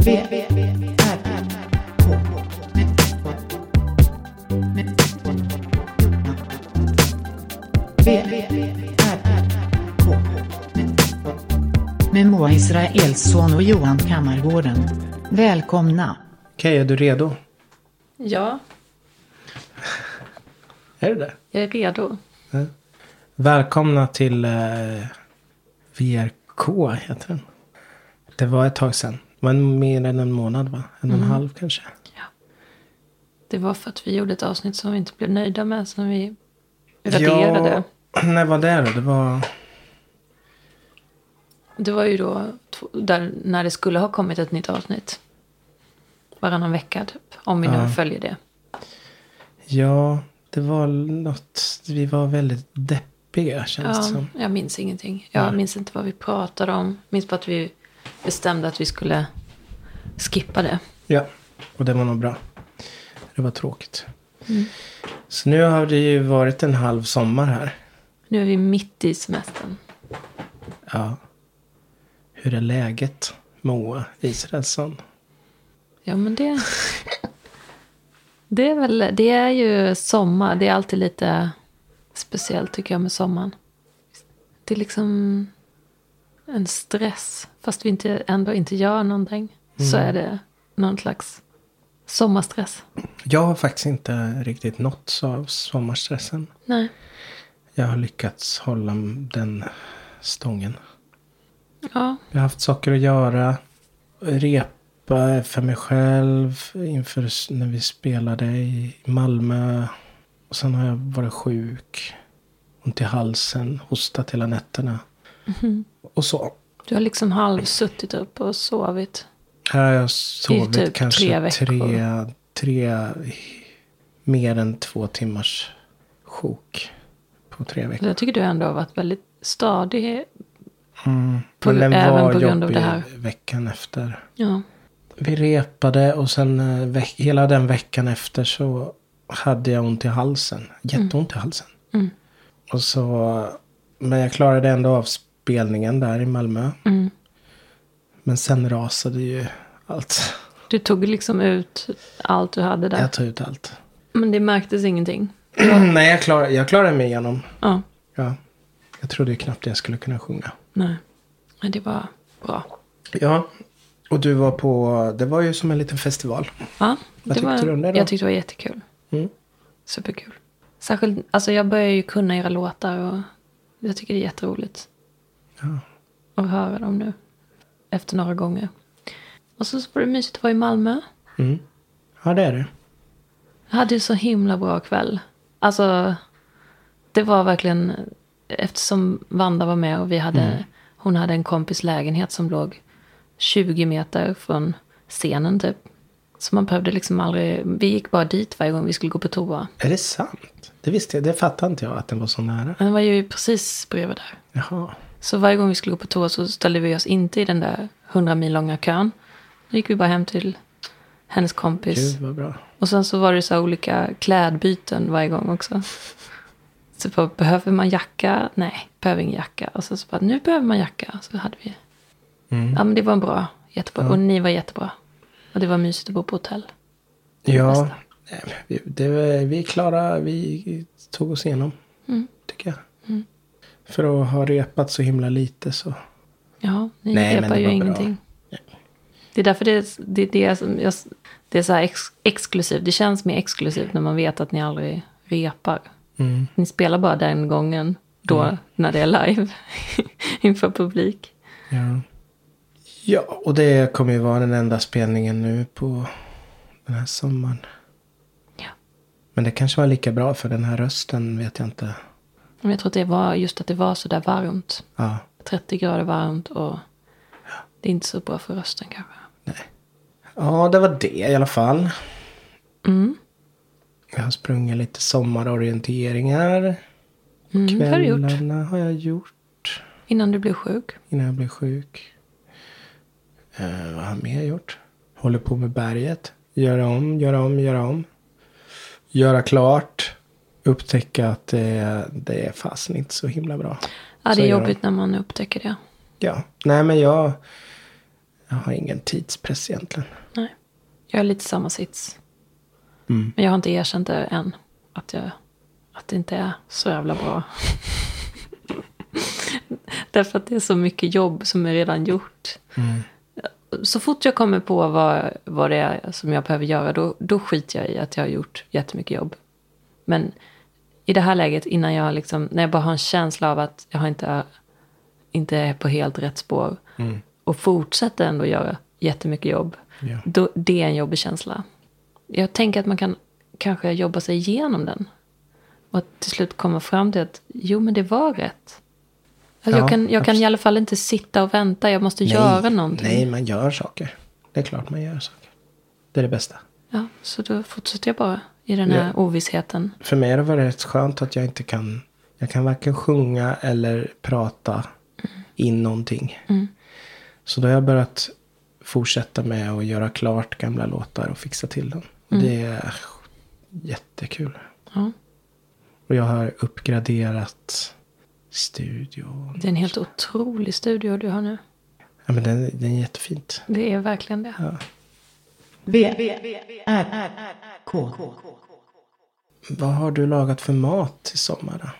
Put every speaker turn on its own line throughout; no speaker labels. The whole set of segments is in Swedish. V, R, K. V, R, K. Med Moa Israelsson och Johan Kammargården. Välkomna.
Okej, är du redo?
Ja,
Är du det?
jag är redo.
Välkomna till eh, VRK heter den. Det var ett tag sedan. Det var en, mer än en månad va? En och en halv kanske.
Det var för att vi gjorde ett avsnitt som vi inte blev nöjda med som vi raderade.
Ja, när var det då? Det var...
Det var ju då två- där, när det skulle ha kommit ett nytt avsnitt. Varannan vecka typ. Om vi nu
Ja.
följer det.
Ja, det var något. Vi var väldigt deppiga känns det
Ja,
som.
jag minns ingenting. Jag minns inte vad vi pratade om. Minns bara att vi bestämde att vi skulle skippa det.
Ja, och det var nog bra. Det var tråkigt. Så nu har det ju varit en halv sommar här.
Nu är vi mitt i semestern.
Ja. Hur är läget? Moa Israelsson.
Ja, men det... Det är, väl, det är ju sommar. Det är alltid lite speciellt tycker jag med sommaren. Det är liksom en stress. Fast vi inte, ändå inte gör någonting. Så är det någon slags sommarstress.
Jag har faktiskt inte riktigt nåtts av sommarstressen.
Nej.
Jag har lyckats hålla den stången.
Ja.
Jag har haft saker att göra. Repa för mig själv inför s- när vi spelade i Malmö. Och sen har jag varit sjuk. Ont i halsen, hostat hela nätterna.
Mhm.
Och så.
Du har liksom halvsuttit upp och sovit.
Här har jag sovit
typ tre
kanske
veckor.
tre, tre, mer än två timmars sjok på tre veckor.
Jag tycker du ändå har varit väldigt stadig.
Mm.
På-
Men den
även
var
på grund av
jobbig
det här.
veckan efter.
Ja.
Vi repade och sen eh, veck- hela den veckan efter så hade jag ont i halsen. Jätteont i halsen.
Mm.
Och så, men jag klarade ändå av spelningen där i Malmö.
Mm.
Men sen rasade ju allt.
Du tog liksom ut allt du hade där.
Jag tog ut allt.
Men det märktes ingenting.
Nej, jag, klar, jag klarade mig igenom.
Ja.
Ja. Jag trodde ju knappt jag skulle kunna sjunga.
Nej. Nej, det var bra.
Ja. Och du var på, det var ju som en liten festival.
Ja,
Vad
det
tyckte
var,
du om det då?
Jag tyckte det var jättekul.
Mm.
Superkul. Särskilt, alltså jag börjar ju kunna era låtar och jag tycker det är jätteroligt
Ja.
att höra dem nu. Efter några gånger. Och så var det mysigt att vara i Malmö.
Mm. Ja, det är det.
Jag hade ju så himla bra kväll. Alltså, det var verkligen... Eftersom Vanda var med och vi hade... Hon hade en kompis lägenhet som låg 20 meter från scenen typ. Så man behövde liksom aldrig... Vi gick bara dit varje gång vi skulle gå på toa.
Är det sant? Det visste jag, det fattade inte jag att den var så nära.
Men den var ju precis bredvid där.
Jaha.
Så varje gång vi skulle gå på toa så ställde vi oss inte i den där 100 mil långa kön. Då gick vi bara hem till hennes kompis.
Gud vad bra.
Och sen så var det så här olika klädbyten varje gång också. Så bara, behöver man jacka? Nej, behöver ingen jacka. Och sen så bara, nu behöver man jacka. Så hade vi.
Mm.
Ja, men det var en bra, jättebra. Och ni var jättebra. Och det var mysigt att bo på hotell.
Ja.
bästa.
Nej, men vi- Det, var- vi klara, vi tog oss igenom.
Mm.
Tycker jag. För att ha repat så himla lite så.
Ja, ni
Nej, men
repar
det
ju
var bra.
ingenting. Det är därför det, är- det, är det, som jag, det är så här ex, exklusivt. Det känns mer exklusivt när man vet att ni aldrig repar.
Mm.
Ni spelar bara den gången då när det är live inför publik.
Ja. Ja, och det kommer ju vara den enda spelningen nu på den här sommaren.
Ja.
Men det kanske var lika bra för den här rösten vet jag inte.
Men jag tror att det var just att det var så där varmt.
Ja,
30 grader varmt och det är inte så bra för rösten kanske.
ja det var det i alla fall.
Mm.
Jag har sprungit lite sommarorienteringar.
Mm, det har du gjort.
Kvällarna har jag gjort
Innan du blev sjuk.
innan jag blev sjuk. Eh, vad har jag mer gjort? Håller på med berget. Göra om, göra om, göra om. Göra klart. Upptäcka att det, det är fasen inte så himla bra.
Ja,
Så
det är
gör
jobbigt när man upptäcker det.
Ja, nej men jag Jag har ingen tidspress egentligen.
Nej. Jag är lite samma sits.
Mm.
Men jag har inte erkänt det än. Att, jag, att det inte är så jävla bra. Därför att det är så mycket jobb som är redan gjort. Så fort jag kommer på vad, vad det är som jag behöver göra, då, då skiter jag i att jag har gjort jättemycket jobb. Men i det här läget, innan jag liksom, när jag bara har en känsla av att jag har inte, inte är på helt rätt spår och fortsätter ändå göra jättemycket jobb,
Ja.
då, det är en jobbig känsla. Jag tänker att man kan kanske jobba sig igenom den och att till slut komma fram till att jo, men det var rätt.
Ja,
Alltså, jag kan, jag kan
absolut.
i alla fall inte sitta och vänta, jag måste göra någonting.
Nej, man gör saker. Det är klart man gör saker. Det är det bästa.
Ja, så då fortsätter jag bara i den här ovissheten.
För mig har det varit rätt skönt att jag inte kan. Jag kan varken sjunga eller prata
Mm.
in någonting. Så då har jag börjat fortsätta med att göra klart gamla låtar och fixa till dem. Och Det är jättekul.
Mm. Ja,
Och jag har uppgraderat studion.
det är en helt otrolig studio du har nu.
Ja, men den, den är jättefint.
Det är verkligen det.
V, R, K.
Vad har du lagat för mat i sommar då?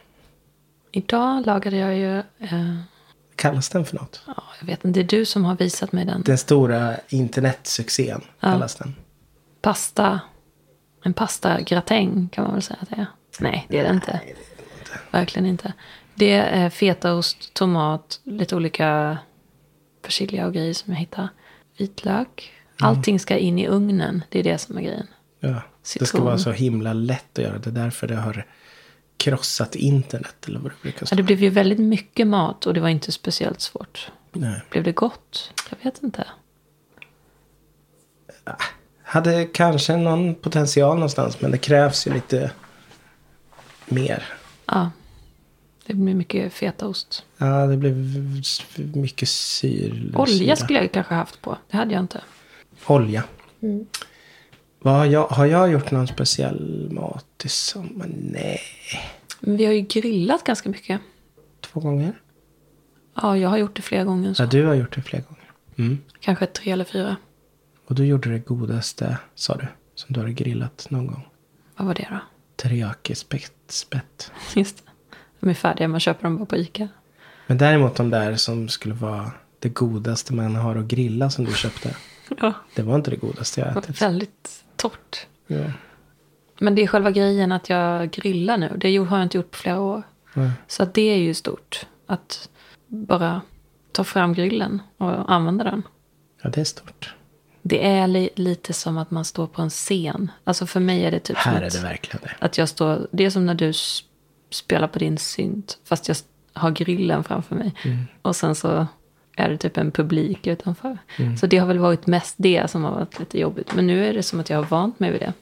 Idag lagade jag ju, eh,
Kallas den för något?
ja, jag vet inte, det är du som har visat mig den.
Den stora internetsuccén kallas den.
Pasta, en pastagratäng kan man väl säga att det är. Nej, det är det inte. Verkligen inte. Det är fetaost, tomat, lite olika persilja och grejer som jag hittar. Vitlök. Allting ska in i ugnen, det är det som är grejen.
Ja. Det ska
Citron.
vara så himla lätt att göra. Det är därför det har krossat internet. Eller vad det brukar
Ja,
stå.
det blev ju väldigt mycket mat och det var inte speciellt svårt.
Nej.
Blev det gott? Jag vet inte.
Hade kanske någon potential någonstans. Men det krävs ju lite mer.
Ja, det blev mycket fetaost.
Ja, det blev s- mycket syr. syra.
Olja skulle jag kanske haft på. Det hade jag inte.
Olja.
Mm.
Vad har, jag, har jag gjort någon speciell mat i sommar? Nej.
Men vi har ju grillat ganska mycket.
Två gånger?
Ja, jag har gjort det flera gånger. Så.
Ja, du har gjort det flera gånger. Mm.
Kanske tre eller fyra.
Och du gjorde det godaste, sa du, som du har grillat någon gång.
Vad var det då?
Teriyaki-spett.
Just det. De är färdiga, man köper dem bara på Ica.
Men däremot de där som skulle vara det godaste man har att grilla som du köpte.
Ja.
Det var inte det godaste jag ätit.
Väldigt torrt.
Ja.
Men det är själva grejen att jag grillar nu. Det har jag inte gjort på flera år.
Nej.
Så att det är ju stort. Att bara ta fram grillen och använda den.
ja, det är stort.
Det är li- lite som att man står på en scen. Alltså för mig är det typ som
Här är
att,
det verkligen det.
att jag står... Det är som när du s- spelar på din synt. Fast jag s- har grillen framför mig.
Mm.
Och sen så är det typ en publik utanför.
Mm.
Så det har väl varit mest det som har varit lite jobbigt. Men nu är det som att jag har vant mig vid det.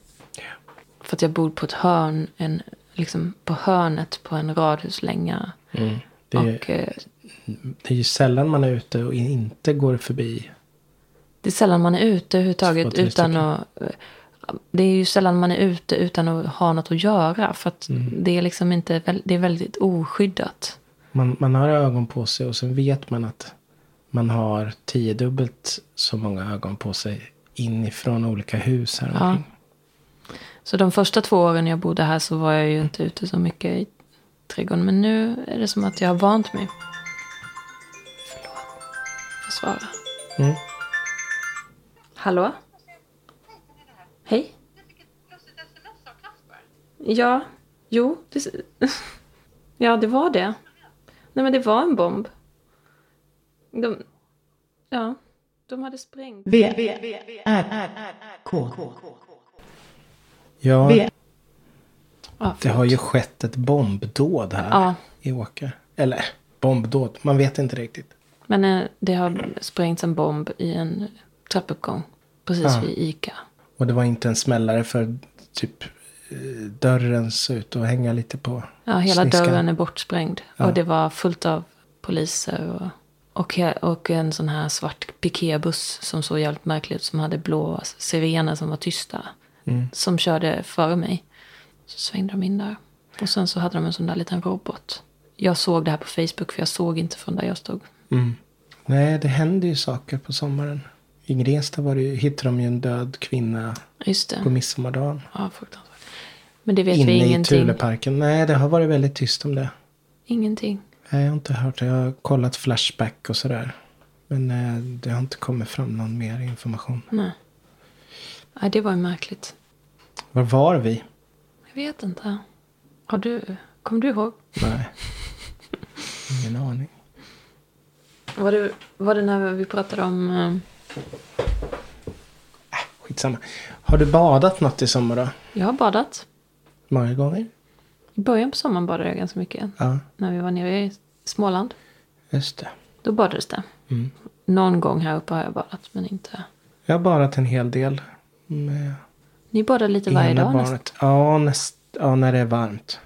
För att jag bor på ett hörn. En, liksom på hörnet på en radhuslänga.
Det är,
Och, eh,
det är ju sällan man är ute och in- inte går förbi.
Det är sällan man är ute överhuvudtaget
Två, tre
utan
stycken.
att... eh, Det är ju sällan man är ute utan att ha något att göra. För att
Mm.
det är liksom inte... väl- Det är väldigt oskyddat.
Man, man har ögon på sig och sen vet man att man har tiodubbelt så många ögon på sig inifrån olika hus här
Ja.
omkring.
Så de första två åren jag bodde här så var jag ju inte ute så mycket i trädgården. Men nu är det som att jag har vant mig. Förlåt. Får svara.
Mm.
Hallå? Hej?
plötsligt sms av Kasper.
Ja, jo. Det, s- ja, det var det. Nej, men det var en bomb. De, ja, de hade sprängt.
V, R, K.
Ja,
V,
Ja,
det
förlåt.
har ju skett ett bombdåd här
Ja.
i Åke. Eller bombdåd, man vet inte riktigt.
Men eh, det har sprängts en bomb i en trappuppgång. Precis
Ja.
vid ICA.
Och det var inte en smällare för typ eh, dörren såg ut att hänga lite på.
Ja, hela
sniskan.
dörren är bortsprängd. Och det var fullt av poliser och, och, he- och en sån här svart piketbuss som såg jävligt märklig ut. Som hade blå sirener som var tysta.
Mm.
Som körde före mig. Så svängde de in där. Och sen så hade de en sån där liten robot. Jag såg det här på Facebook för jag såg inte från där jag stod.
Mm. Nej, det händer ju saker på sommaren. I Grensta var det, ju- hittade de ju en död kvinna
Just
på
det.
midsommardagen.
Ja, fruktansvärt. Men det vet vi
Inne i
ingenting.
Thuleparken. Nej, det har varit väldigt tyst om det.
Ingenting.
Nej, jag har inte hört det. Jag har kollat Flashback och sådär. Men eh, det har inte kommit fram någon mer information.
Nej. Nej, det var ju märkligt.
Var var vi?
Jag vet inte. Har du... Kommer du ihåg?
Nej. Ingen aning.
Var det, var det när vi pratade om... eh,
Äh, Skitsamma. Har du badat något i sommar då?
Jag har badat.
Många gånger?
I början på sommaren badade jag ganska mycket.
Ja,
När vi var nere i Småland.
just det.
Då badades det.
Mm.
Någon gång här uppe har jag badat, men inte...
Jag har badat en hel del. Med
Ni badar lite varje
ena
dag nästan.
barnet. Ja, näst, ja, när det är varmt.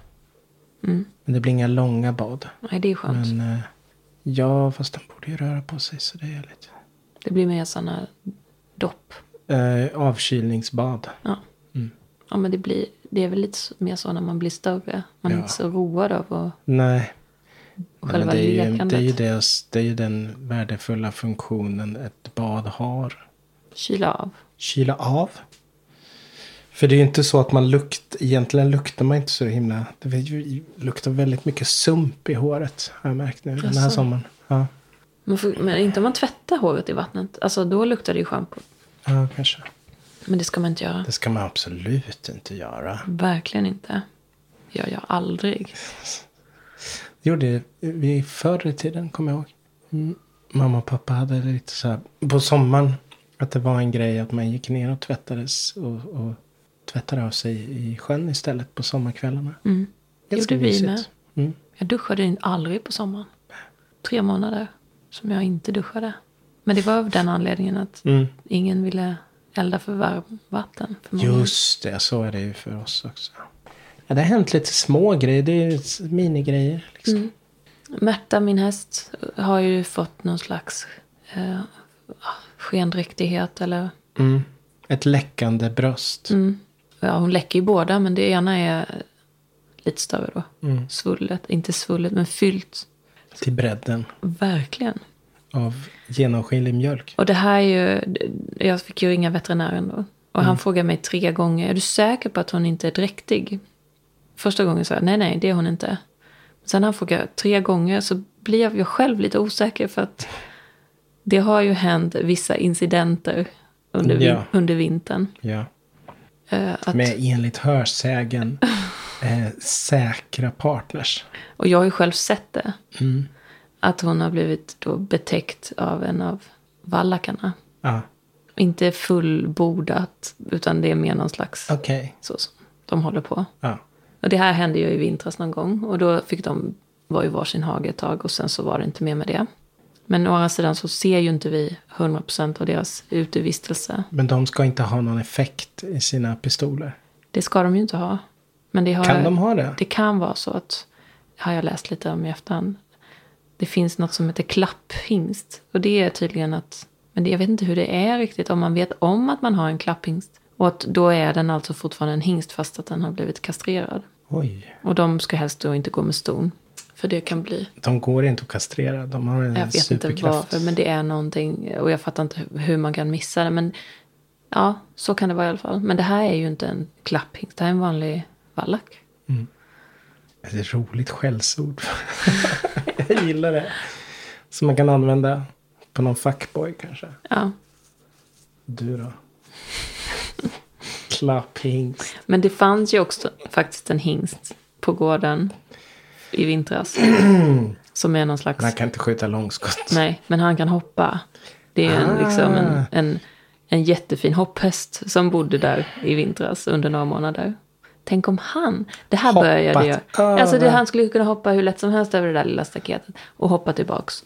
Mm.
Men det blir inga långa bad.
Nej, det är skönt.
Men eh, ja, fast de borde ju röra på sig så det är lite.
Det blir mer sådana dopp.
Eh, avkylningsbad.
Ja.
Mm.
ja, men det, blir, det är väl lite så- mer så när man blir större. Man är
Ja.
inte så road av att
Nej.
själva
det, är ju,
lekandet.
det, är ju det, det är ju den värdefulla funktionen ett bad har.
kyla av.
Kyla av. För det är ju inte så att man lukt, egentligen luktar man inte så himla. Det är ju- luktar väldigt mycket sump i håret har jag märkt nu den här
Jaså?
sommaren. Ja,
Man får, men inte om man tvättar håret i vattnet. Alltså då luktar det ju schampo.
ja kanske.
Men det ska man inte göra.
Det ska man absolut inte göra.
Verkligen inte. Jag gör aldrig.
Det gjorde vi förr i tiden, kommer jag ihåg. Mm. Mamma och pappa hade det lite så här på sommaren. Att det var en grej att man gick ner och tvättades och, och tvättade av sig i sjön istället på sommarkvällarna.
Mm.
Ganska
Gjorde vi
mysigt.
med.
Mm.
Jag duschade in- aldrig på sommaren. Tre månader som jag inte duschade. Men det var av den anledningen att
Mm.
ingen ville elda för varmvatten. För många.
Just det, så är det ju för oss också. Ja, det har hänt lite små grejer, det är ju s- minigrejer. Liksom.
Märta, min häst, har ju fått någon slags eh, skendräktighet eller...
Mm. Ett läckande bröst.
Mm. Ja, hon läcker ju båda, men det ena är lite större då.
Mm.
Svullet, inte svullet, men fyllt.
Till bredden
Verkligen.
av genomskinlig mjölk.
Och det här är ju... Jag fick ju ringa veterinären då. Och
Mm.
han frågade mig tre gånger, är du säker på att hon inte är dräktig? Första gången sa jag, nej, nej, det är hon inte. Sen han frågade tre gånger så blev jag själv lite osäker för att det har ju hänt vissa incidenter under, vin-
Ja.
under vintern.
Ja.
Eh, att,
med enligt hörsägen eh, säkra partners.
och jag har ju själv sett det.
Mm.
Att hon har blivit då betäckt av en av vallakarna.
Ja,
Inte fullbordat, utan det är mer någon slags...
okej.
så som de håller på.
Ja.
Och det här hände ju i vintras någon gång och då fick de vara i varsin hage ett tag och sen så var det inte mer med det. Men å andra sidan så ser ju inte vi 100% av deras utevistelse.
Men de ska inte ha någon effekt i sina pistoler.
Det ska de ju inte ha. Men det har
Kan de ha det?
Det kan vara så att, har jag läst lite om i efterhand, det finns något som heter klapphingst. Och det är tydligen att, men det, jag vet inte hur det är riktigt, om man vet om att man har en klapphingst. Och att då är den alltså fortfarande en hingst fast att den har blivit kastrerad.
Oj.
Och de ska helst då inte gå med ston. För det kan bli,
De går inte att kastrera. De har en
jag vet inte
superkraft.
varför, men det är någonting. Och jag fattar inte hu- hur man kan missa det. Men ja, så kan det vara i alla fall. Men det här är ju inte en klapphingst, det här är en vanlig vallack.
Det är ett roligt skällsord. Jag gillar det. Som man kan använda på någon fuckboy kanske.
Ja.
Du då? Klapphingst.
Men det fanns ju också faktiskt en hingst på gården i vintras. som är någon slags,
Man kan inte skjuta långskott.
nej, men han kan hoppa. Det är en,
Ah.
liksom en, en, en jättefin hopphäst som bodde där i vintras under några månader. Tänk om han, det här
Hoppat
började jag. Alltså det,
över.
han skulle ju kunna hoppa hur lätt som helst över det där lilla staketet och hoppa tillbaks.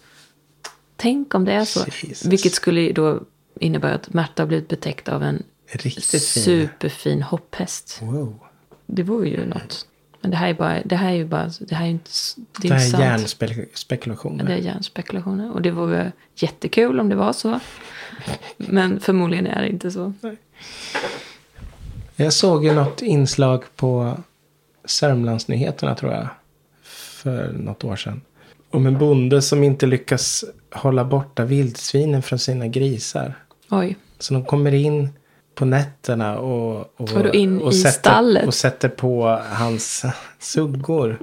Tänk om det är så.
Jesus.
Vilket skulle ju då innebära att Märta har blivit betäckt av en
Riktigt fin.
superfin hopphäst.
Wow.
Det vore
Mm.
ju något. Men det här är, bara, det här är ju bara... Det här är ju inte, s-
Det
det är det
här är
sant.
hjärnspekulationer.
Det är hjärnspekulationer. Och det vore jättekul om det var så. Men förmodligen är det inte så.
Jag såg ju något inslag på Sörmlandsnyheterna tror jag. För något år sedan. Om en bonde som inte lyckas hålla borta vildsvinen från sina grisar.
Oj.
Så de kommer in på nätterna och, och,
Och då in i
sätter,
stallet.
och sätter på hans suggor.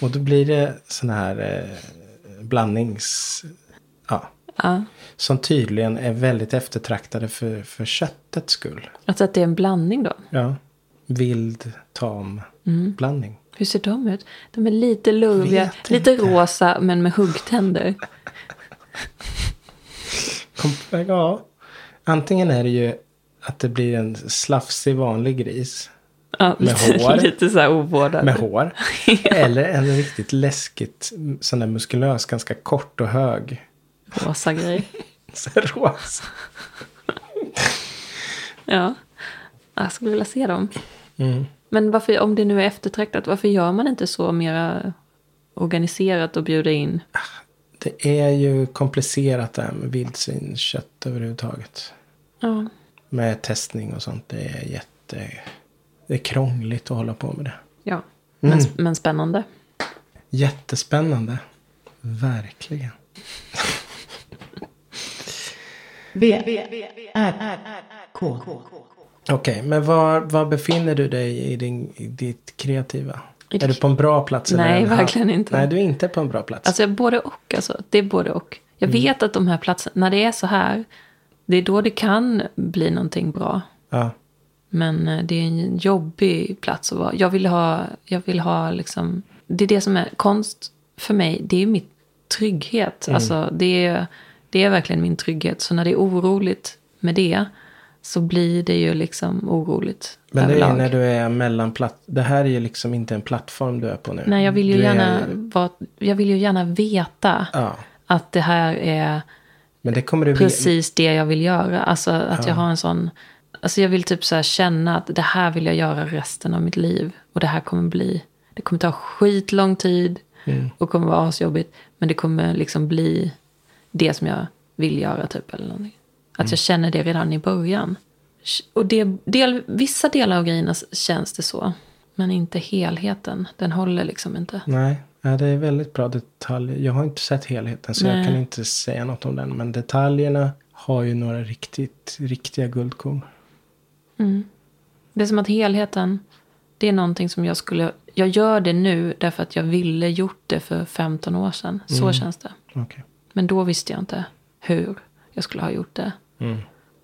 Och då blir det sån här eh, blandnings... Ja,
Ja.
som tydligen är väldigt eftertraktade för, för köttets skull.
Alltså att det är en blandning då.
Ja. Vild, tam
Mm.
blandning.
Hur ser de ut? De är lite lurviga,
Vet
lite
inte.
rosa men med huggtänder.
Kom, ja. Antingen är det ju att det blir en slafsig vanlig gris
Ja,
Med
lite,
hår.
lite så här ovårdade.
med hår. Eller en riktigt läskigt sån där muskulös, ganska kort och hög.
Rosa grej.
Så här rosa.
Ja. Jag skulle vilja se dem.
Mm.
Men varför, om det nu är eftertraktat, varför gör man inte så mera organiserat och bjuder in?
Det är ju komplicerat det här med vildsvinskött överhuvudtaget.
Ja.
Med testning och sånt. Det är jätte... Det är krångligt att hålla på med det.
ja. Men, men spännande.
Jättespännande. Verkligen.
V, R, K.
Okej, men var, var befinner du dig i, din, i ditt kreativa?
I
är
det-
du på en bra plats? eller
Nej,
en halv-
verkligen inte.
Nej, du är inte på en bra plats.
Alltså både och, alltså. Det är både och. Jag
Mm.
vet att de här platserna, när det är så här, det är då det kan bli någonting bra.
ja.
Men eh, det är en jobbig plats att vara. Jag vill ha, jag vill ha liksom, det är det som är konst för mig, det är mitt trygghet.
Mm.
Alltså det är, det är verkligen min trygghet. Så när det är oroligt med det så blir det ju liksom oroligt
Men det är
överlag.
ju när du är mellan platt... Det här är ju liksom inte en plattform du är på nu.
Nej, jag vill ju
du är
gärna vara, jag vill ju gärna veta
Ja,
att det här är
men det kommer du...
precis det jag vill göra. Alltså att jag har en sån... Alltså jag vill typ så här känna att det här vill jag göra resten av mitt liv. Och det här kommer bli... Det kommer ta skitlång tid
Mm.
och kommer vara asjobbigt. Men det kommer liksom bli det som jag vill göra typ eller någonting. Att
Mm.
jag känner det redan i början. Och det, del, vissa delar av grejerna känns det så. Men inte helheten. Den håller liksom inte.
Nej, ja, det är väldigt bra detaljer. Jag har inte sett helheten så jag
Nej.
kan inte säga något om den. Men detaljerna har ju några riktigt, riktiga guldkorn.
Det är som att helheten, det är någonting som jag skulle... Jag gör det nu därför att jag ville gjort det för 15 år sedan. Så känns det.
Okej.
Men då visste jag inte hur jag skulle ha gjort det.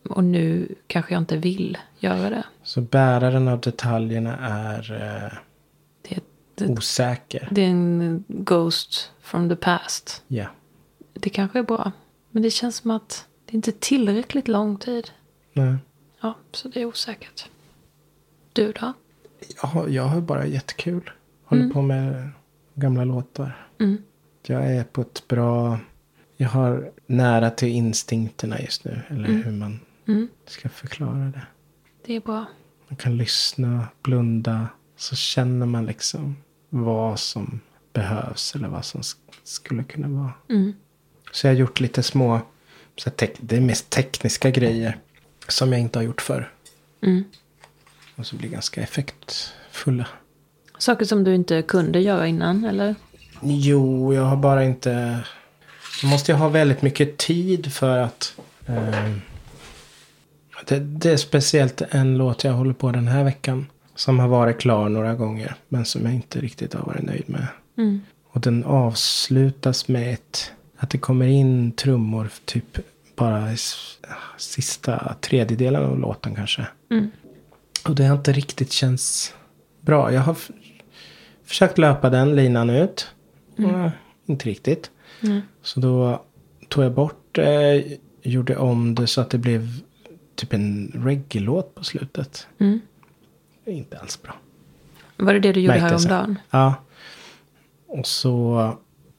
Och nu kanske jag inte vill göra det.
Så bäraren av detaljerna är eh,
Det, är- det,
osäker.
det är en ghost from the past.
Ja.
Det kanske är bra. Men det känns som att det är inte tillräckligt lång tid.
Nej.
Ja, så det är osäkert. Du då?
Jag, har- jag har bara jättekul. Håller
Mm.
på med gamla låtar. Jag är på ett bra... Jag har nära till instinkterna just nu. Eller hur man ska förklara det.
Det är bra.
Man kan lyssna, blunda. Så känner man liksom vad som behövs eller vad som sk- skulle kunna vara.
Mm.
Så jag har gjort lite små, så här tek- det är mest tekniska grejer. Som jag inte har gjort förr.
Mm.
Och så blir ganska effektfulla.
Saker som du inte kunde göra innan, eller?
Jo, jag har bara inte... Då måste jag ha väldigt mycket tid för att... Eh, det, det är speciellt en låt jag håller på den här veckan. Som har varit klar några gånger. Men som jag inte riktigt har varit nöjd med.
Mm.
Och den avslutas med ett, att det kommer in trummor typ bara i s- ah, sista tredjedelen av låten kanske.
Mm.
Och det har inte riktigt känts bra. Jag har f- försökt löpa den linan ut. Eh, inte riktigt.
Mm. Nej.
Så då tog jag bort, eh, gjorde om det så att det blev typ en reggae-låt på slutet.
Mm.
Det är inte alls bra.
Var det det du gjorde
Märkte jag sen.
häromdagen?
Ja. Och så,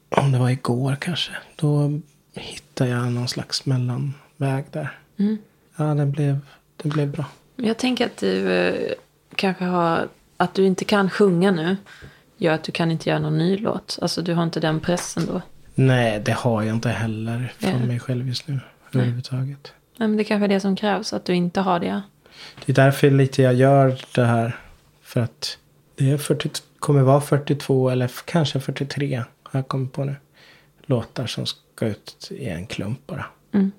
om det var igår kanske, då hittade jag någon slags mellanväg där.
Mm.
Ja, den blev, den blev bra.
Jag tänker att du eh, kanske har... Att du inte kan sjunga nu gör att du kan inte göra någon ny låt. Alltså, du har inte den pressen då.
Nej, det har jag inte heller från
Ja.
mig själv just nu. Överhuvudtaget.
Nej, men det kanske är det som krävs, att du inte har det.
Det är därför lite jag gör det här. För att det är 40, kommer vara 42 eller f- kanske 43. Har jag kommit på nu. Låtar som ska ut i en klump bara.
Mm.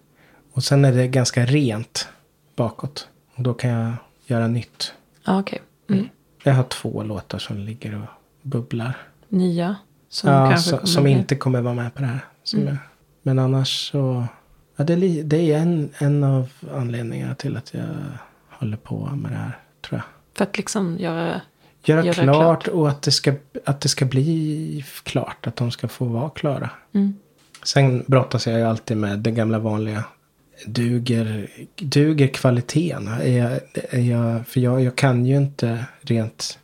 Och sen är det ganska rent bakåt. Och då kan jag göra nytt.
Ja, okej. Mm.
Jag har två låtar som ligger och bubblar.
Nya. Som
ja, så,
kanske kommer Mm.
som
bli-
inte kommer vara med på det här. Som jag, men annars så. Ja, det, är li- det är en, en av anledningarna till att jag håller på med det här. Tror jag.
För att liksom göra...
Göra,
Göra
klart,
klart.
och att det, ska, att det ska bli f- klart. Att de ska få vara klara.
Mm.
Sen brottas jag ju alltid med det gamla vanliga. Duger, duger kvaliteten? Är jag, är jag, för jag, jag kan ju inte rent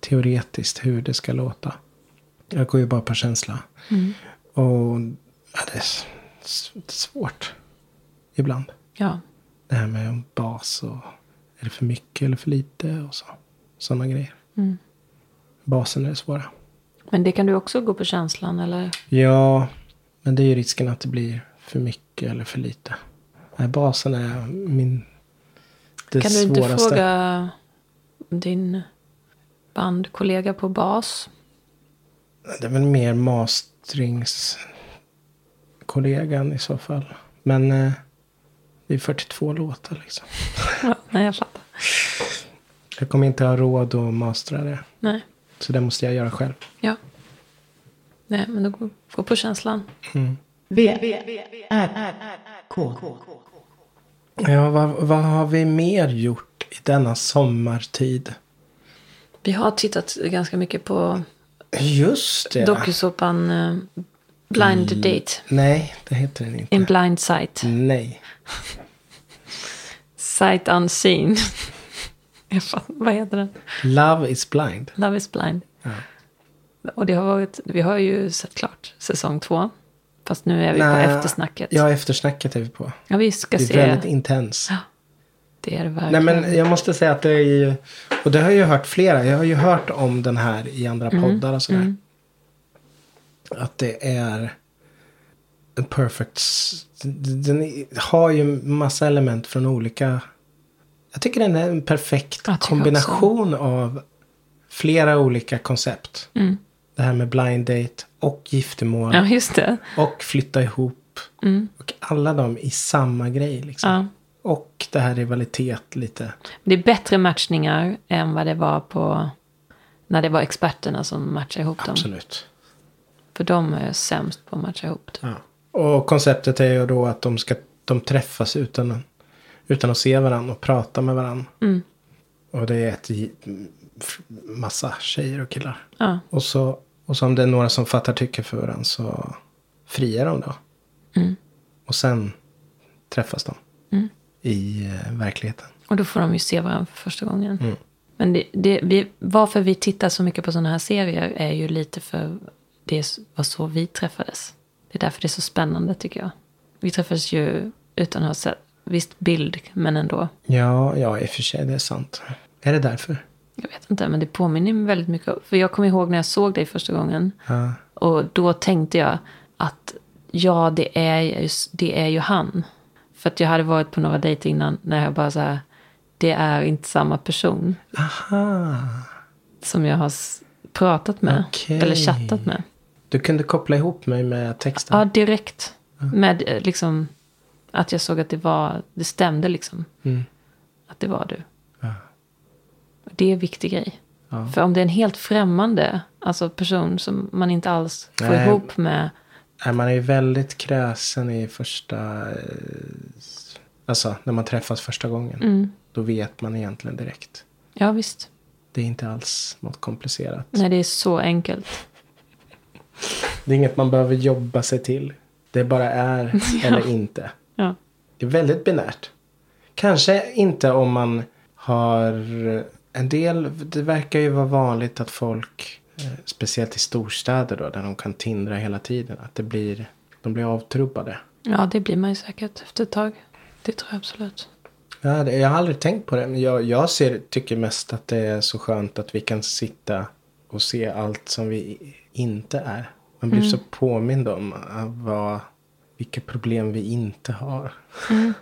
teoretiskt hur det ska låta. Jag går ju bara på känsla.
Mm.
Och ja, det är s- s- svårt ibland.
Ja.
Det här med en bas och är det för mycket eller för lite och så. Sådana grejer.
Mm.
Basen är det svåra.
Men det kan du också gå på känslan eller?
Ja, men det är ju risken att det blir för mycket eller för lite. Nej, basen är min... Det
kan du
svåraste.
inte fråga din bandkollega på bas?
Det är väl mer masteringskollegan i så fall. Men eh, det är 42 låtar liksom.
Ja, nej, jag fattar.
Jag kommer inte ha råd att mastra det.
Nej.
Så det måste jag göra själv.
Ja. Nej, men då gå, gå på känslan.
V, R, R, K.
Ja, vad, vad har vi mer gjort i denna sommartid?
Vi har tittat ganska mycket på
Just det.
dokusåpan eh,
Mm.
Blind Date.
Nej, det heter den inte.
In blind sight.
Mm. Nej.
Sight unseen. Jag fattar- Vad heter den?
Love is blind.
Love is blind.
Ja.
Och det har varit, vi har ju sett klart säsong två. Fast nu är vi
Nej,
på eftersnacket.
Ja, eftersnacket är vi på.
Ja, vi ska
Det är
se.
väldigt intens.
Det är det
Nej,
verkligen.
men jag måste säga att det är ju... Och det har jag ju hört flera. Jag har ju hört om den här i andra
Mm.
poddar och sådär. Att det är... En perfect... s- Den är- har ju massa element från olika... Jag tycker den är en perfekt
Jag tycker
kombination av flera olika koncept. Det här med blind date och giftermål
Mm. Ja, just det.
och flytta ihop. Och alla de i samma grej liksom.
Ja.
Och det här rivalitet lite.
Det är bättre matchningar än vad det var på när det var experterna som matchade ihop dem.
Absolut.
För de är sämst på att matcha ihop. Typ.
Ja. Och konceptet är ju då att de ska de träffas utan, utan att se varandra och prata med varandra. Och det är ett gi- f- massa tjejer och killar.
Ja.
Och, så, och så om det är några som fattar tycke för varandra så friar de då. Och sen träffas de. I eh, verkligheten.
Och då får de ju se varandra för första gången. Men det, det, vi, varför vi tittar så mycket på sådana här serier är ju lite för det var så vi träffades. Det är därför det är så spännande tycker jag. Vi träffades ju utan att ha sett, visst bild, men ändå.
Ja, ja i och för sig det är sant. Är det därför?
Jag vet inte, men det påminner mig väldigt mycket. om- För jag kommer ihåg när jag såg dig första gången.
Ja.
Och då tänkte jag att ja, det är, ju- det är ju han. För att jag hade varit på några dejter innan när jag bara så här, det är inte samma person.
Aha.
som jag har s- pratat med.
Okej.
Eller chattat med.
Du kunde koppla ihop mig med texten.
Ja, direkt. Med eh, liksom att jag såg att det var, det stämde liksom.
Mm.
Att det var du.
Ja.
Det är en viktig grej.
Ja.
För om det är en helt främmande alltså person som man inte alls får
Nej.
ihop med.
Nej, man är ju väldigt kräsen i första... eh, Alltså när man träffas första gången. Då vet man egentligen direkt.
Ja, visst.
Det är inte alls något komplicerat.
Nej, det är så enkelt.
Det är inget man behöver jobba sig till. Det bara är eller inte.
Ja.
Det är väldigt binärt. Kanske inte om man har eh, en del. Det verkar ju vara vanligt att folk, eh, speciellt i storstäder då, där de kan tindra hela tiden, att det blir, de blir avtrubbade.
ja, det blir man ju säkert efter ett tag. Det tror jag absolut.
Ja, det, jag har aldrig tänkt på det. Men jag, jag ser, tycker mest att det är så skönt att vi kan sitta och se allt som vi i- inte är. Man blir så påmind om eh, vad, vilka problem vi inte har.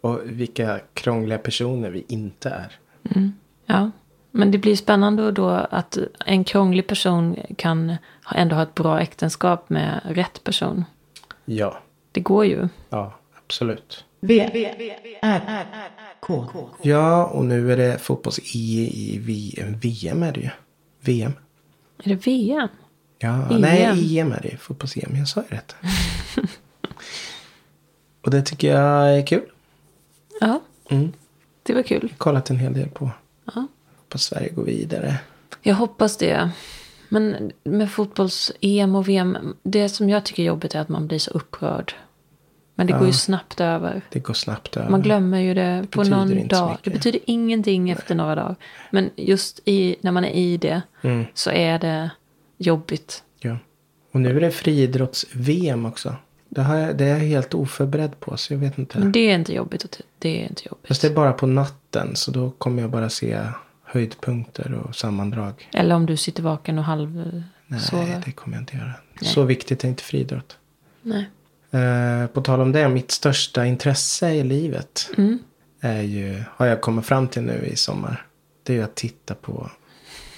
och vilka krångliga personer vi inte är.
Ja, men det blir spännande då att en krånglig person kan ändå ha ett bra äktenskap med rätt person.
Ja,
Det går ju.
ja absolut.
V, V, R, R, K.
Ja, och nu är det fotbolls-E i VM. VM är det ju. VM.
Är det VM?
Ja,
EM.
nej, EM är det ju. Fotbolls-EM. Jag sa ju rätt. och det tycker jag är kul.
Ja,
Mm.
det var kul.
Kollat en hel del på.
Ja.
På Sverige går vidare.
Jag hoppas det. Men med fotbolls-EM och VM, det som jag tycker är jobbigt är att man blir så upprörd. Men det går ju snabbt över.
Det går snabbt över.
Man glömmer ju det på
betyder
någon
inte så
dag.
mycket.
Det betyder ingenting efter några dagar. Men just i, när man är i det
Mm.
så är det jobbigt.
Ja. Och nu är det friidrotts-VM också. Det, har jag, det är jag helt oförberedd på, så jag vet inte.
Men det är inte jobbigt. att- Det är inte jobbigt.
Fast det är bara på natten, så då kommer jag bara se höjdpunkter och sammandrag.
Eller om du sitter vaken och halv
Nej,
sover.
det kommer jag inte göra. Så viktigt är inte friidrott.
Nej.
Eh, på tal om det, mitt största intresse i livet
Mm.
är ju, har jag kommit fram till nu i sommar. Det är ju att titta på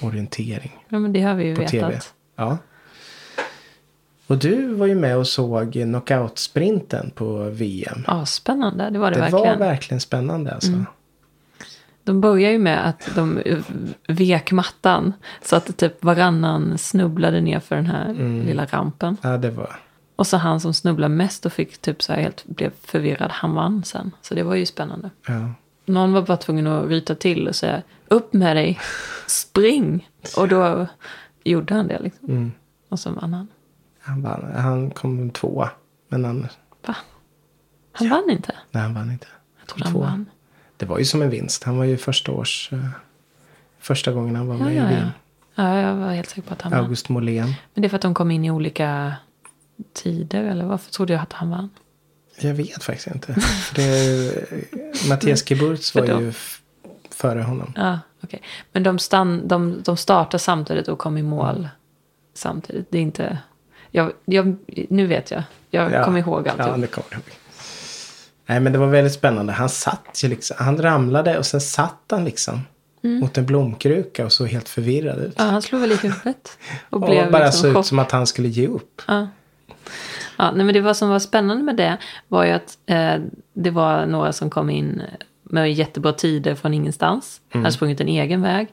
orientering
Ja, men det har vi ju
på
vetat.
tv. Ja. Och du var ju med och såg knockoutsprinten på VM.
Ja, spännande. Det var det,
det
verkligen. Mm.
var verkligen spännande alltså.
De börjar ju med att de eh, vek mattan. Så att typ varannan snubblade ner för den här lilla rampen.
Ja, det var.
Och så han som snubblade mest och fick typ så här helt blev förvirrad. Han vann sen. Så det var ju spännande.
Ja.
Någon var bara tvungen att ryta till och säga upp med dig, spring. Och då gjorde han det liksom. Och så vann han.
Han, vann. han kom tvåa. Men han,
Va? Han vann inte?
nej, han vann inte.
Jag trodde han
Tvåa.
vann.
Det var ju som en vinst. Han var ju första års... eh, första gången han var
Ja,
med
ja,
i
ja.
VM.
ja, jag var helt säker på att han vann.
August Molén.
Men det är för att de kom in i olika tider eller varför trodde jag att han vann?
Jag vet faktiskt inte. För Det, Mattias Kiburz var
För då-
ju f- före honom.
Ja, okej. Men de, stann, de, de startar samtidigt och kom i mål samtidigt. Det är inte... Jag, jag, nu vet jag. Jag
Ja.
kommer ihåg allt.
Ja, det kommer jag ihåg. Nej, men det var väldigt spännande. Han satt ju liksom. Han ramlade och sen satt han liksom. Mot en blomkruka och såg helt förvirrad ut.
Mm. Ja, han slog väl i huvudet. Och,
Och
blev
bara
liksom
såg
chock.
ut som att han skulle ge upp.
Ja, nej, men det var som var spännande med det var ju att eh, det var några som kom in med jättebra tider från ingenstans.
Mm.
Hade sprungit en egen väg.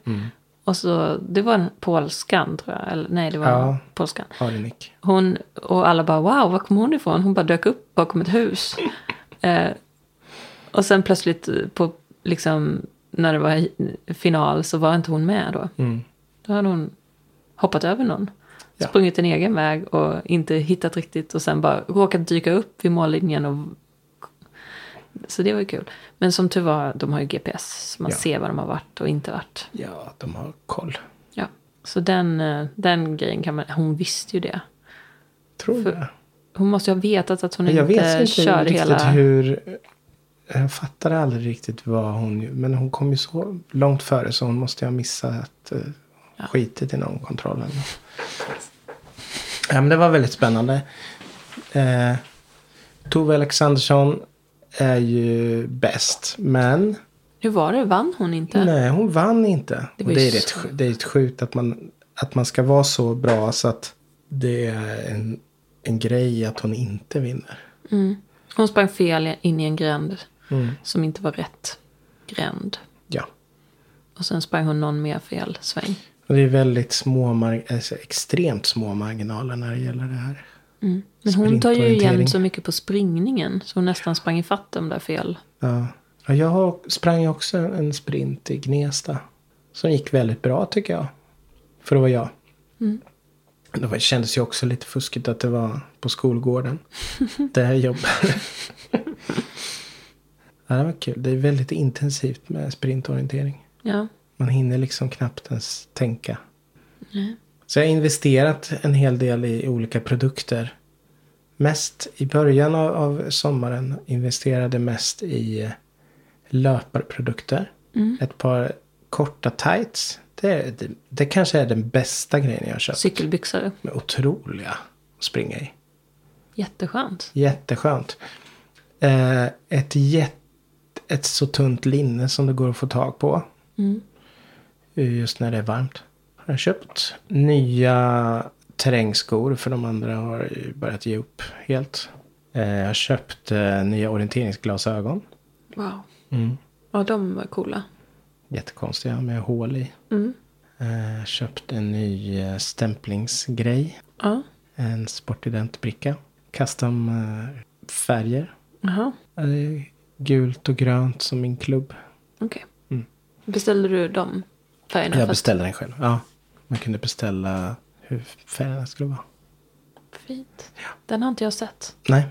Och så, det var en polskan tror jag. Eller, nej, det var
Ja.
polskan.
Arenik.
Hon, och alla bara wow, var kom hon ifrån? Hon bara dök upp bakom ett hus. Eh, och sen plötsligt på, liksom, när det var hi- final så var inte hon med då. Då hade hon hoppat över någon.
Mm. Ja.
Sprungit en egen väg och inte hittat riktigt och sen bara råkat dyka upp vid mållinjen. Och... Så det var ju kul. Men som tur var, de har ju GPS. Så man
Ja.
ser var de har varit och inte varit.
Ja, de har koll.
Ja. Så den, eh, den grejen kan man, hon visste ju det.
Tror
För-
jag.
Hon måste ju ha vetat att hon
Jag
inte,
vet inte
kör
riktigt
hela...
hur... Jag fattade aldrig riktigt vad hon... Men hon kom ju så långt före så hon måste ju ha missat eh, skitet i någon kontroll. Eller. något. Ja, men det var väldigt spännande. Eh, Tove Alexandersson är ju bäst. Men
Hur var det? Vann hon inte?
nej, hon vann inte.
Det
Det,
var
och
ju
det, är, rätt,
så-
sj- det är ett sjukt att man, att man ska vara så bra så att det är en, en grej att hon inte vinner.
Mm. Hon sprang fel in i en gränd
Mm.
som inte var rätt gränd.
Ja.
Och sen sprang hon någon mer fel sväng.
Och det är väldigt små, mar- alltså extremt små marginaler när det gäller det här.
Men hon tar ju igen
Sprintorientering.
så mycket på springningen så hon nästan sprang ifatt de där fel.
Ja. Ja, jag har- sprang ju också en sprint i Gnesta. Som gick väldigt bra tycker jag. För det var jag. Mm. Det var, kändes ju också lite fuskigt att det var på skolgården. där jag jobbar. ja, det var kul. Det är väldigt intensivt med sprintorientering.
Ja.
Man hinner liksom knappt ens tänka. Så jag har investerat en hel del i olika produkter. Mest i början av, av sommaren investerade mest i eh, löparprodukter.
Mm.
Ett par korta tights. Det, det, det kanske är den bästa grejen jag har köpt.
Cykelbyxor.
De är otroliga att springa i.
Jätteskönt.
Jätteskönt. Eh, ett, jätt, ett så tunt linne som det går att få tag på.
Mm.
eh, Just när det är varmt. Har jag köpt nya terrängskor för de andra har ju börjat ge upp helt. Eh, Jag köpte nya orienteringsglasögon.
Wow.
Mm.
Ja, de var coola.
Jättekonstiga med hål i.
Mm.
Eh, Jag köpte en ny eh, stämplingsgrej.
Ja.
En sportidentbricka. Custom eh, färger.
Jaha.
Eh, det är Gult och grönt som min klubb.
Okej. Beställde du de färgerna?
Mm. Jag
Fast-
beställde den själv. Ja. Man kunde beställa hur färgerna skulle vara.
Fint. Den har inte jag sett.
Nej.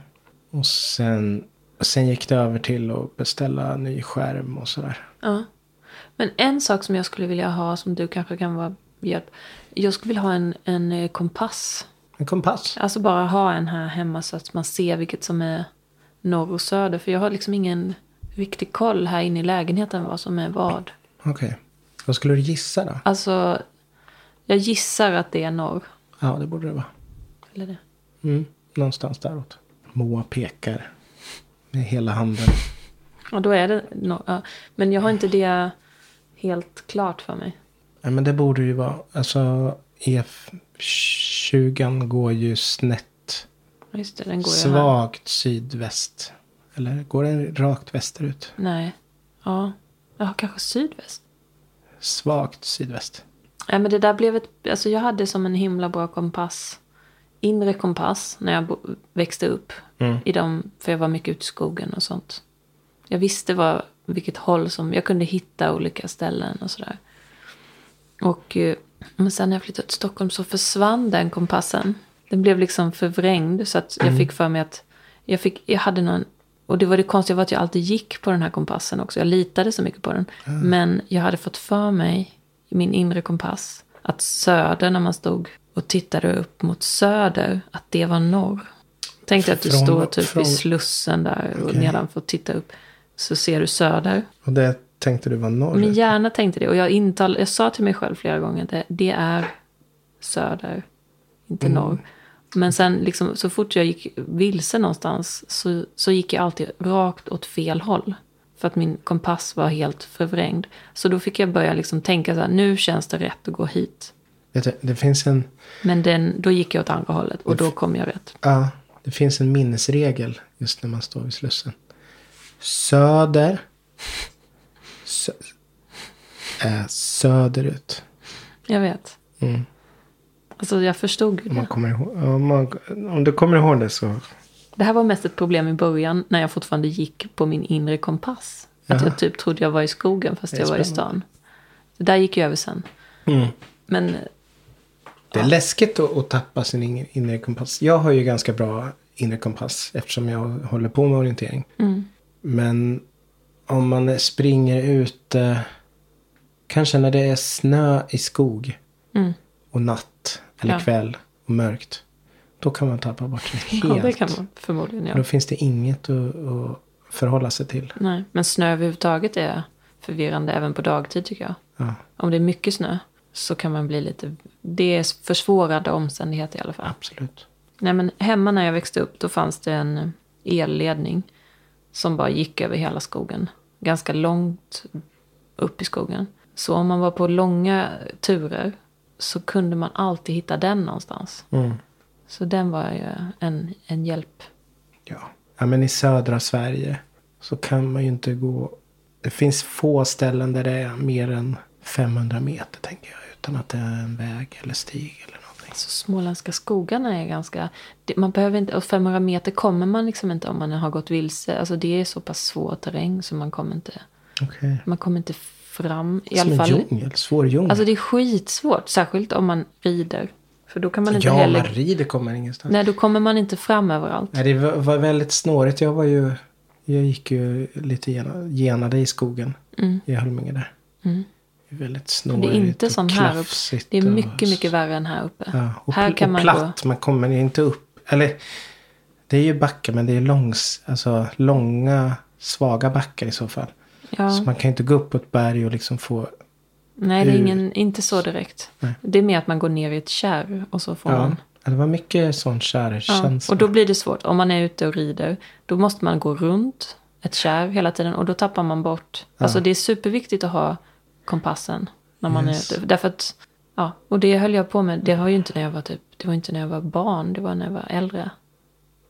Och sen, sen gick det över till att beställa ny skärm och sådär.
Ja. Men en sak som jag skulle vilja ha som du kanske kan vara hjälp. Jag skulle vilja ha en, en eh, kompass.
En kompass.
Alltså bara ha en här hemma så att man ser vilket som är norr och söder. För jag har liksom ingen riktig koll här inne i lägenheten vad som är vad.
Okej. Vad skulle du gissa då?
Alltså, jag gissar att det är norr.
Ja, det borde det vara.
Eller det.
Mm. Någonstans däråt. Moa pekar. Med hela handen.
Ja, då är det norr. Ja. Men jag har inte det helt klart för mig.
Nej, men det borde ju vara. Alltså E20 går ju snett.
Just det, den går ju här.
Svagt sydväst. Eller går den rakt västerut?
Nej. Ja. Ja, kanske sydväst.
Svagt sydväst.
Ja, men det där blev ett, alltså jag hade som en himla bra kompass, inre kompass, när jag bo, växte upp. I dem, för jag var mycket ute i skogen och sånt. Jag visste vad, vilket håll som, jag kunde hitta olika ställen och sådär. Och, eh, men sen när jag flyttade till Stockholm så försvann den kompassen. Den blev liksom förvrängd så att jag
Mm.
fick för mig att, jag, fick, jag hade någon, och det var det konstiga var att jag alltid gick på den här kompassen också. Jag litade så mycket på den.
Ah.
Men jag hade fått för mig, i min inre kompass, att söder när man stod och tittade upp mot söder, att det var norr. Tänk dig att du
Från-
står typ
från-
i Slussen där och
Okej.
nedanför och tittar upp. Så ser du söder.
Och det tänkte du var norrut?
Min hjärna tänkte det. Och jag, intal, jag sa till mig själv flera gånger att det, det är söder, inte
Mm.
norr. Men sen liksom, så fort jag gick vilse någonstans så, så gick jag alltid rakt åt fel håll. För att min kompass var helt förvrängd. Så då fick jag börja liksom tänka så här, nu känns det rätt att gå hit.
Vet du, det finns en...
Men den, då gick jag åt andra hållet och då kom jag rätt.
Ja, det finns en minnesregel just när man står vid Slussen. Söder. Sö, är söderut.
Jag vet.
Mm.
Alltså jag förstod ju
Om, man
det.
kommer ihåg, om, man, om du kommer ihåg det så.
Det här var mest ett problem i början när jag fortfarande gick på min inre kompass. Att
Jaha.
jag typ trodde jag var i skogen fast
Det är
jag var i
spännande.
stan. Det där gick ju över sen.
Mm.
Men
Det är läskigt att, att tappa sin in- inre kompass. Jag har ju ganska bra inre kompass eftersom jag håller på med orientering.
Mm.
Men om man springer ute, kanske när det är snö i skog
Mm.
och natt eller
Ja.
kväll och mörkt. Då kan man tappa bort det
ja,
helt.
det kan man förmodligen
Då
göra.
finns det inget att, att förhålla sig till.
Nej. Men snö överhuvudtaget är förvirrande även på dagtid tycker jag.
Ja,
Om det är mycket snö så kan man bli lite... Det är försvårade omständigheter i alla fall.
absolut.
Nej, men hemma när jag växte upp då fanns det en elledning som bara gick över hela skogen. Ganska långt upp i skogen. Så om man var på långa turer så kunde man alltid hitta den någonstans.
Mm.
Så den var ju en, en hjälp.
Ja. ja, men i södra Sverige så kan man ju inte gå. Det finns få ställen där det är mer än 500 meter tänker jag. Utan att det är en väg eller stig eller någonting.
Så småländska skogarna är ganska... det- Man behöver inte, och 500 meter kommer man liksom inte om man har gått vilse. Alltså det är så pass svår terräng så man kommer inte,
Okej.
man kommer inte fram. I
Som
alla
en
fall
djungel, svår djungel.
Alltså det är skitsvårt, särskilt om man rider. För då kan man inte
ja,
heller...
man rider kommer ingenstans.
Nej, då kommer man inte fram överallt.
Nej, det var- var väldigt snårigt. Jag var ju... Jag gick ju lite gena- genade i skogen
Mm.
i Holminge där.
Mm.
Det är väldigt
Det
snårigt
är inte
och
som här uppe.
klafsigt
Det är
och-
mycket, mycket värre än här uppe.
Ja, och,
här
pl-
kan
och
man
platt. Man kommer inte upp. Eller, det är ju backar men det är långs, alltså, långa svaga backar i så fall.
gå... Ja.
Så man kan ju inte gå upp på ett berg och liksom få...
Nej, det är
Hur-
ingen, inte så direkt.
Nej.
Det är mer att man går ner i ett kärr och så får
Ja.
man...
Ja, det var mycket sån
Ja.
kärkänsla.
Och då blir det svårt. Om man är ute och rider, då måste man gå runt ett kärr hela tiden och då tappar man bort. Alltså det är superviktigt att ha kompassen när man
Yes.
är ute. Därför att, ja, och det höll jag på med. Det var ju inte när jag var typ, det var inte när jag var barn, det var när jag var äldre.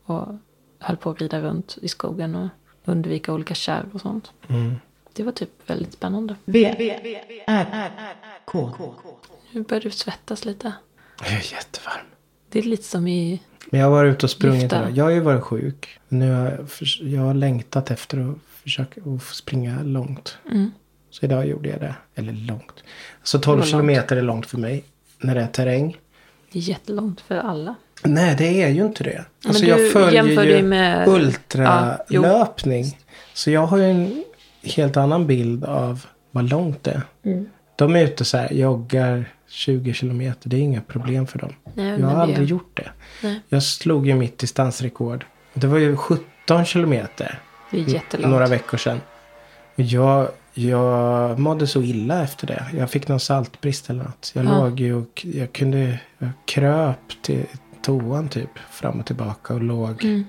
Och höll på att rida runt i skogen och undvika olika kärr och sånt.
Mm.
Det var typ väldigt spännande.
V, V, R, R, K.
Nu börjar du svettas lite.
Jag är jättevarm.
Det är lite som i...
Men jag har varit ute och sprungit
Lyfta.
idag. Jag har ju varit sjuk. Nu har jag, förs- jag har längtat efter att försöka att få springa långt. Så idag gjorde jag det. Eller långt. Alltså 12
Mm. långt.
kilometer är långt för mig. När det är terräng.
Det är jättelångt för alla.
Nej, det är ju inte det.
Men
Alltså
du
jag följer
jämför
ju
ju med- Ja, jo.
ultralöpning. så jag har ju en helt annan bild av vad långt det är.
Mm.
De är ute så här, joggar 20 kilometer. Det är inga problem för dem.
Nej, men
jag har
det-
aldrig gjort det.
Nej.
Jag slog ju mitt distansrekord. Det var ju 17 kilometer.
Det är jättelångt.
Några veckor sedan. Och Jag, jag mådde så illa efter det. Jag fick någon saltbrist eller något. Jag
Ja.
låg ju och jag kunde, jag kröp till toan typ. Fram och tillbaka och låg.
Mm.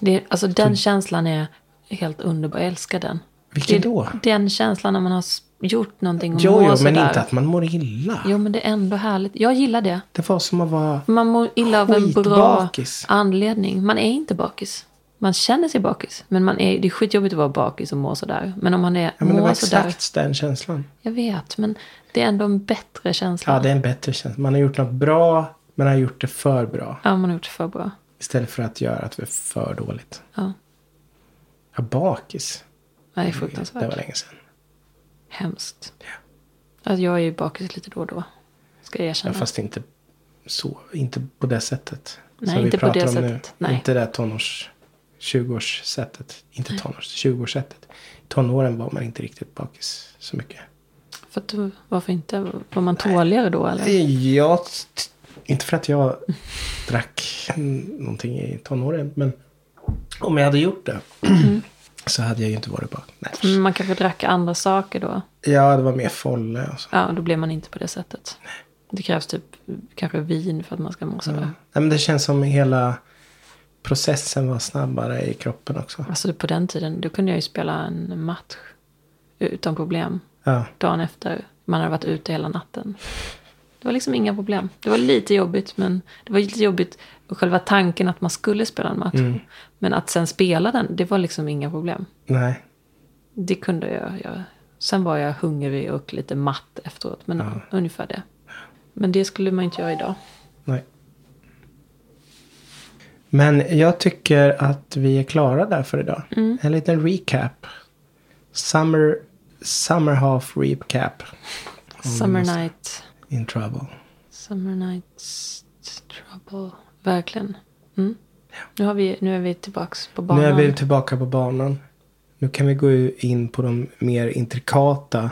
Det, alltså den känslan är helt underbar. Jag älskar den.
Vilken
det,
då?
Den känslan när man har s- gjort någonting och
Jo,
mår
jo, men
sådär.
inte att man mår illa.
Jo, men det är ändå härligt. Jag gillar det.
Det var som att vara...
Man mår illa av en bra
Skitbakis.
anledning. Man är inte bakis. Man känner sig bakis. Men man är, det är skitjobbigt att vara bakis och må sådär. Men om man är,
Ja, men det var
mår sådär.
exakt den känslan.
Jag vet, men det är ändå en bättre känsla.
Ja, det är en bättre känsla. Man har gjort något bra, men har gjort det för bra.
Ja, man har gjort det för bra.
Istället för att göra att det är för dåligt.
Ja.
Ja, bakis.
Det är
Det
fruktansvärt.
var länge sedan.
Hemskt. Alltså, jag är ju bakis lite då och då. Ska jag
Ja,
erkänna.
fast inte så. Inte på det sättet.
Nej,
som
inte
vi
på
pratar
det
om
sättet.
Nu.
Nej.
Inte det tonårs... 20-årssättet. Inte tonårs, 20-årssättet. Tonåren var man inte riktigt bakis så mycket.
För att, du- varför inte? Var man tåligare då eller?
Jag... t- Inte för att jag drack någonting i tonåren, men om jag hade gjort det
Mm.
så hade jag ju inte varit bak. Nej.
Men Man kanske drack andra saker då.
Ja, det var mer folle och så.
Ja, då blev man inte på det sättet. Det krävs typ kanske vin för att man ska må sådär.
Nej, men det känns som hela processen var snabbare i kroppen också.
Alltså på den tiden, då kunde jag ju spela en match utan problem.
Ja.
Dagen efter, man hade varit ute hela natten. Det var liksom inga problem. Det var lite jobbigt, men det var lite jobbigt själva tanken att man skulle spela en match. Men att sen spela den, det var liksom inga problem.
Nej.
Det kunde jag göra. Sen var jag hungrig och lite matt efteråt, men ungefär det. Men det skulle man inte göra idag.
Nej. Men jag tycker att vi är klara där för idag.
Mm.
En liten recap. Summer, summer half recap.
Summer night,
In trouble.
summer night's trouble. Verkligen. Mm. Nu, har vi, nu är vi tillbaks på banan.
Nu är vi tillbaka på banan. Nu kan vi gå in på de mer intrikata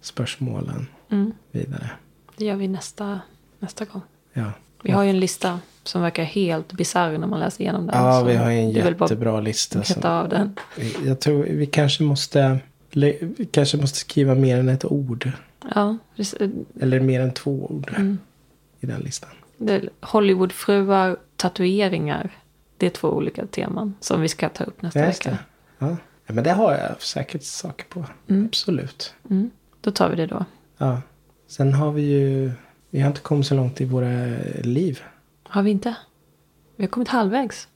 spörsmålen
Mm.
vidare.
Det gör vi nästa, nästa gång.
Ja,
Vi har ju en lista som verkar helt bisarr när man läser igenom den.
ja
så
vi har ju en
det är väl bara
jättebra lista.
att Heta
Som,
av den.
jag tror vi kanske måste, le- vi kanske måste skriva mer än ett ord.
Ja, det-
Eller mer än två ord
Mm.
i den listan.
det- Hollywoodfruar, tatueringar. Det är två olika teman som vi ska ta upp nästa
Ja, just
vecka.
det. Ja. ja, men det har jag säkert saker på. Absolut.
Mm. Då tar vi det då.
Ja. Sen har vi ju, vi har inte kommit så långt i våra liv.
Har vi inte? Vi har kommit halvvägs.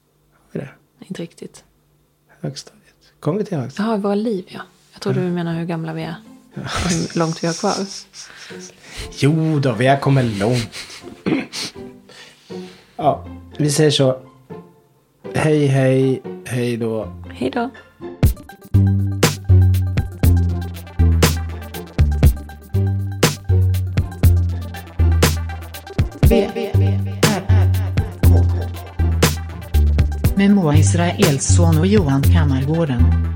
Vad är det?
Inte riktigt.
Högstadiet. Kom vi till högstadiet?
Jaha, våra liv ja. Jag trodde du menade hur gamla vi är. Hur långt vi har kvar.
Jo då, vi har kommit långt. ja, vi säger så. Hej, hej, hej då.
Hej då.
V, V, R, R, K. Med Moa Israelsson och Johan Kammargården.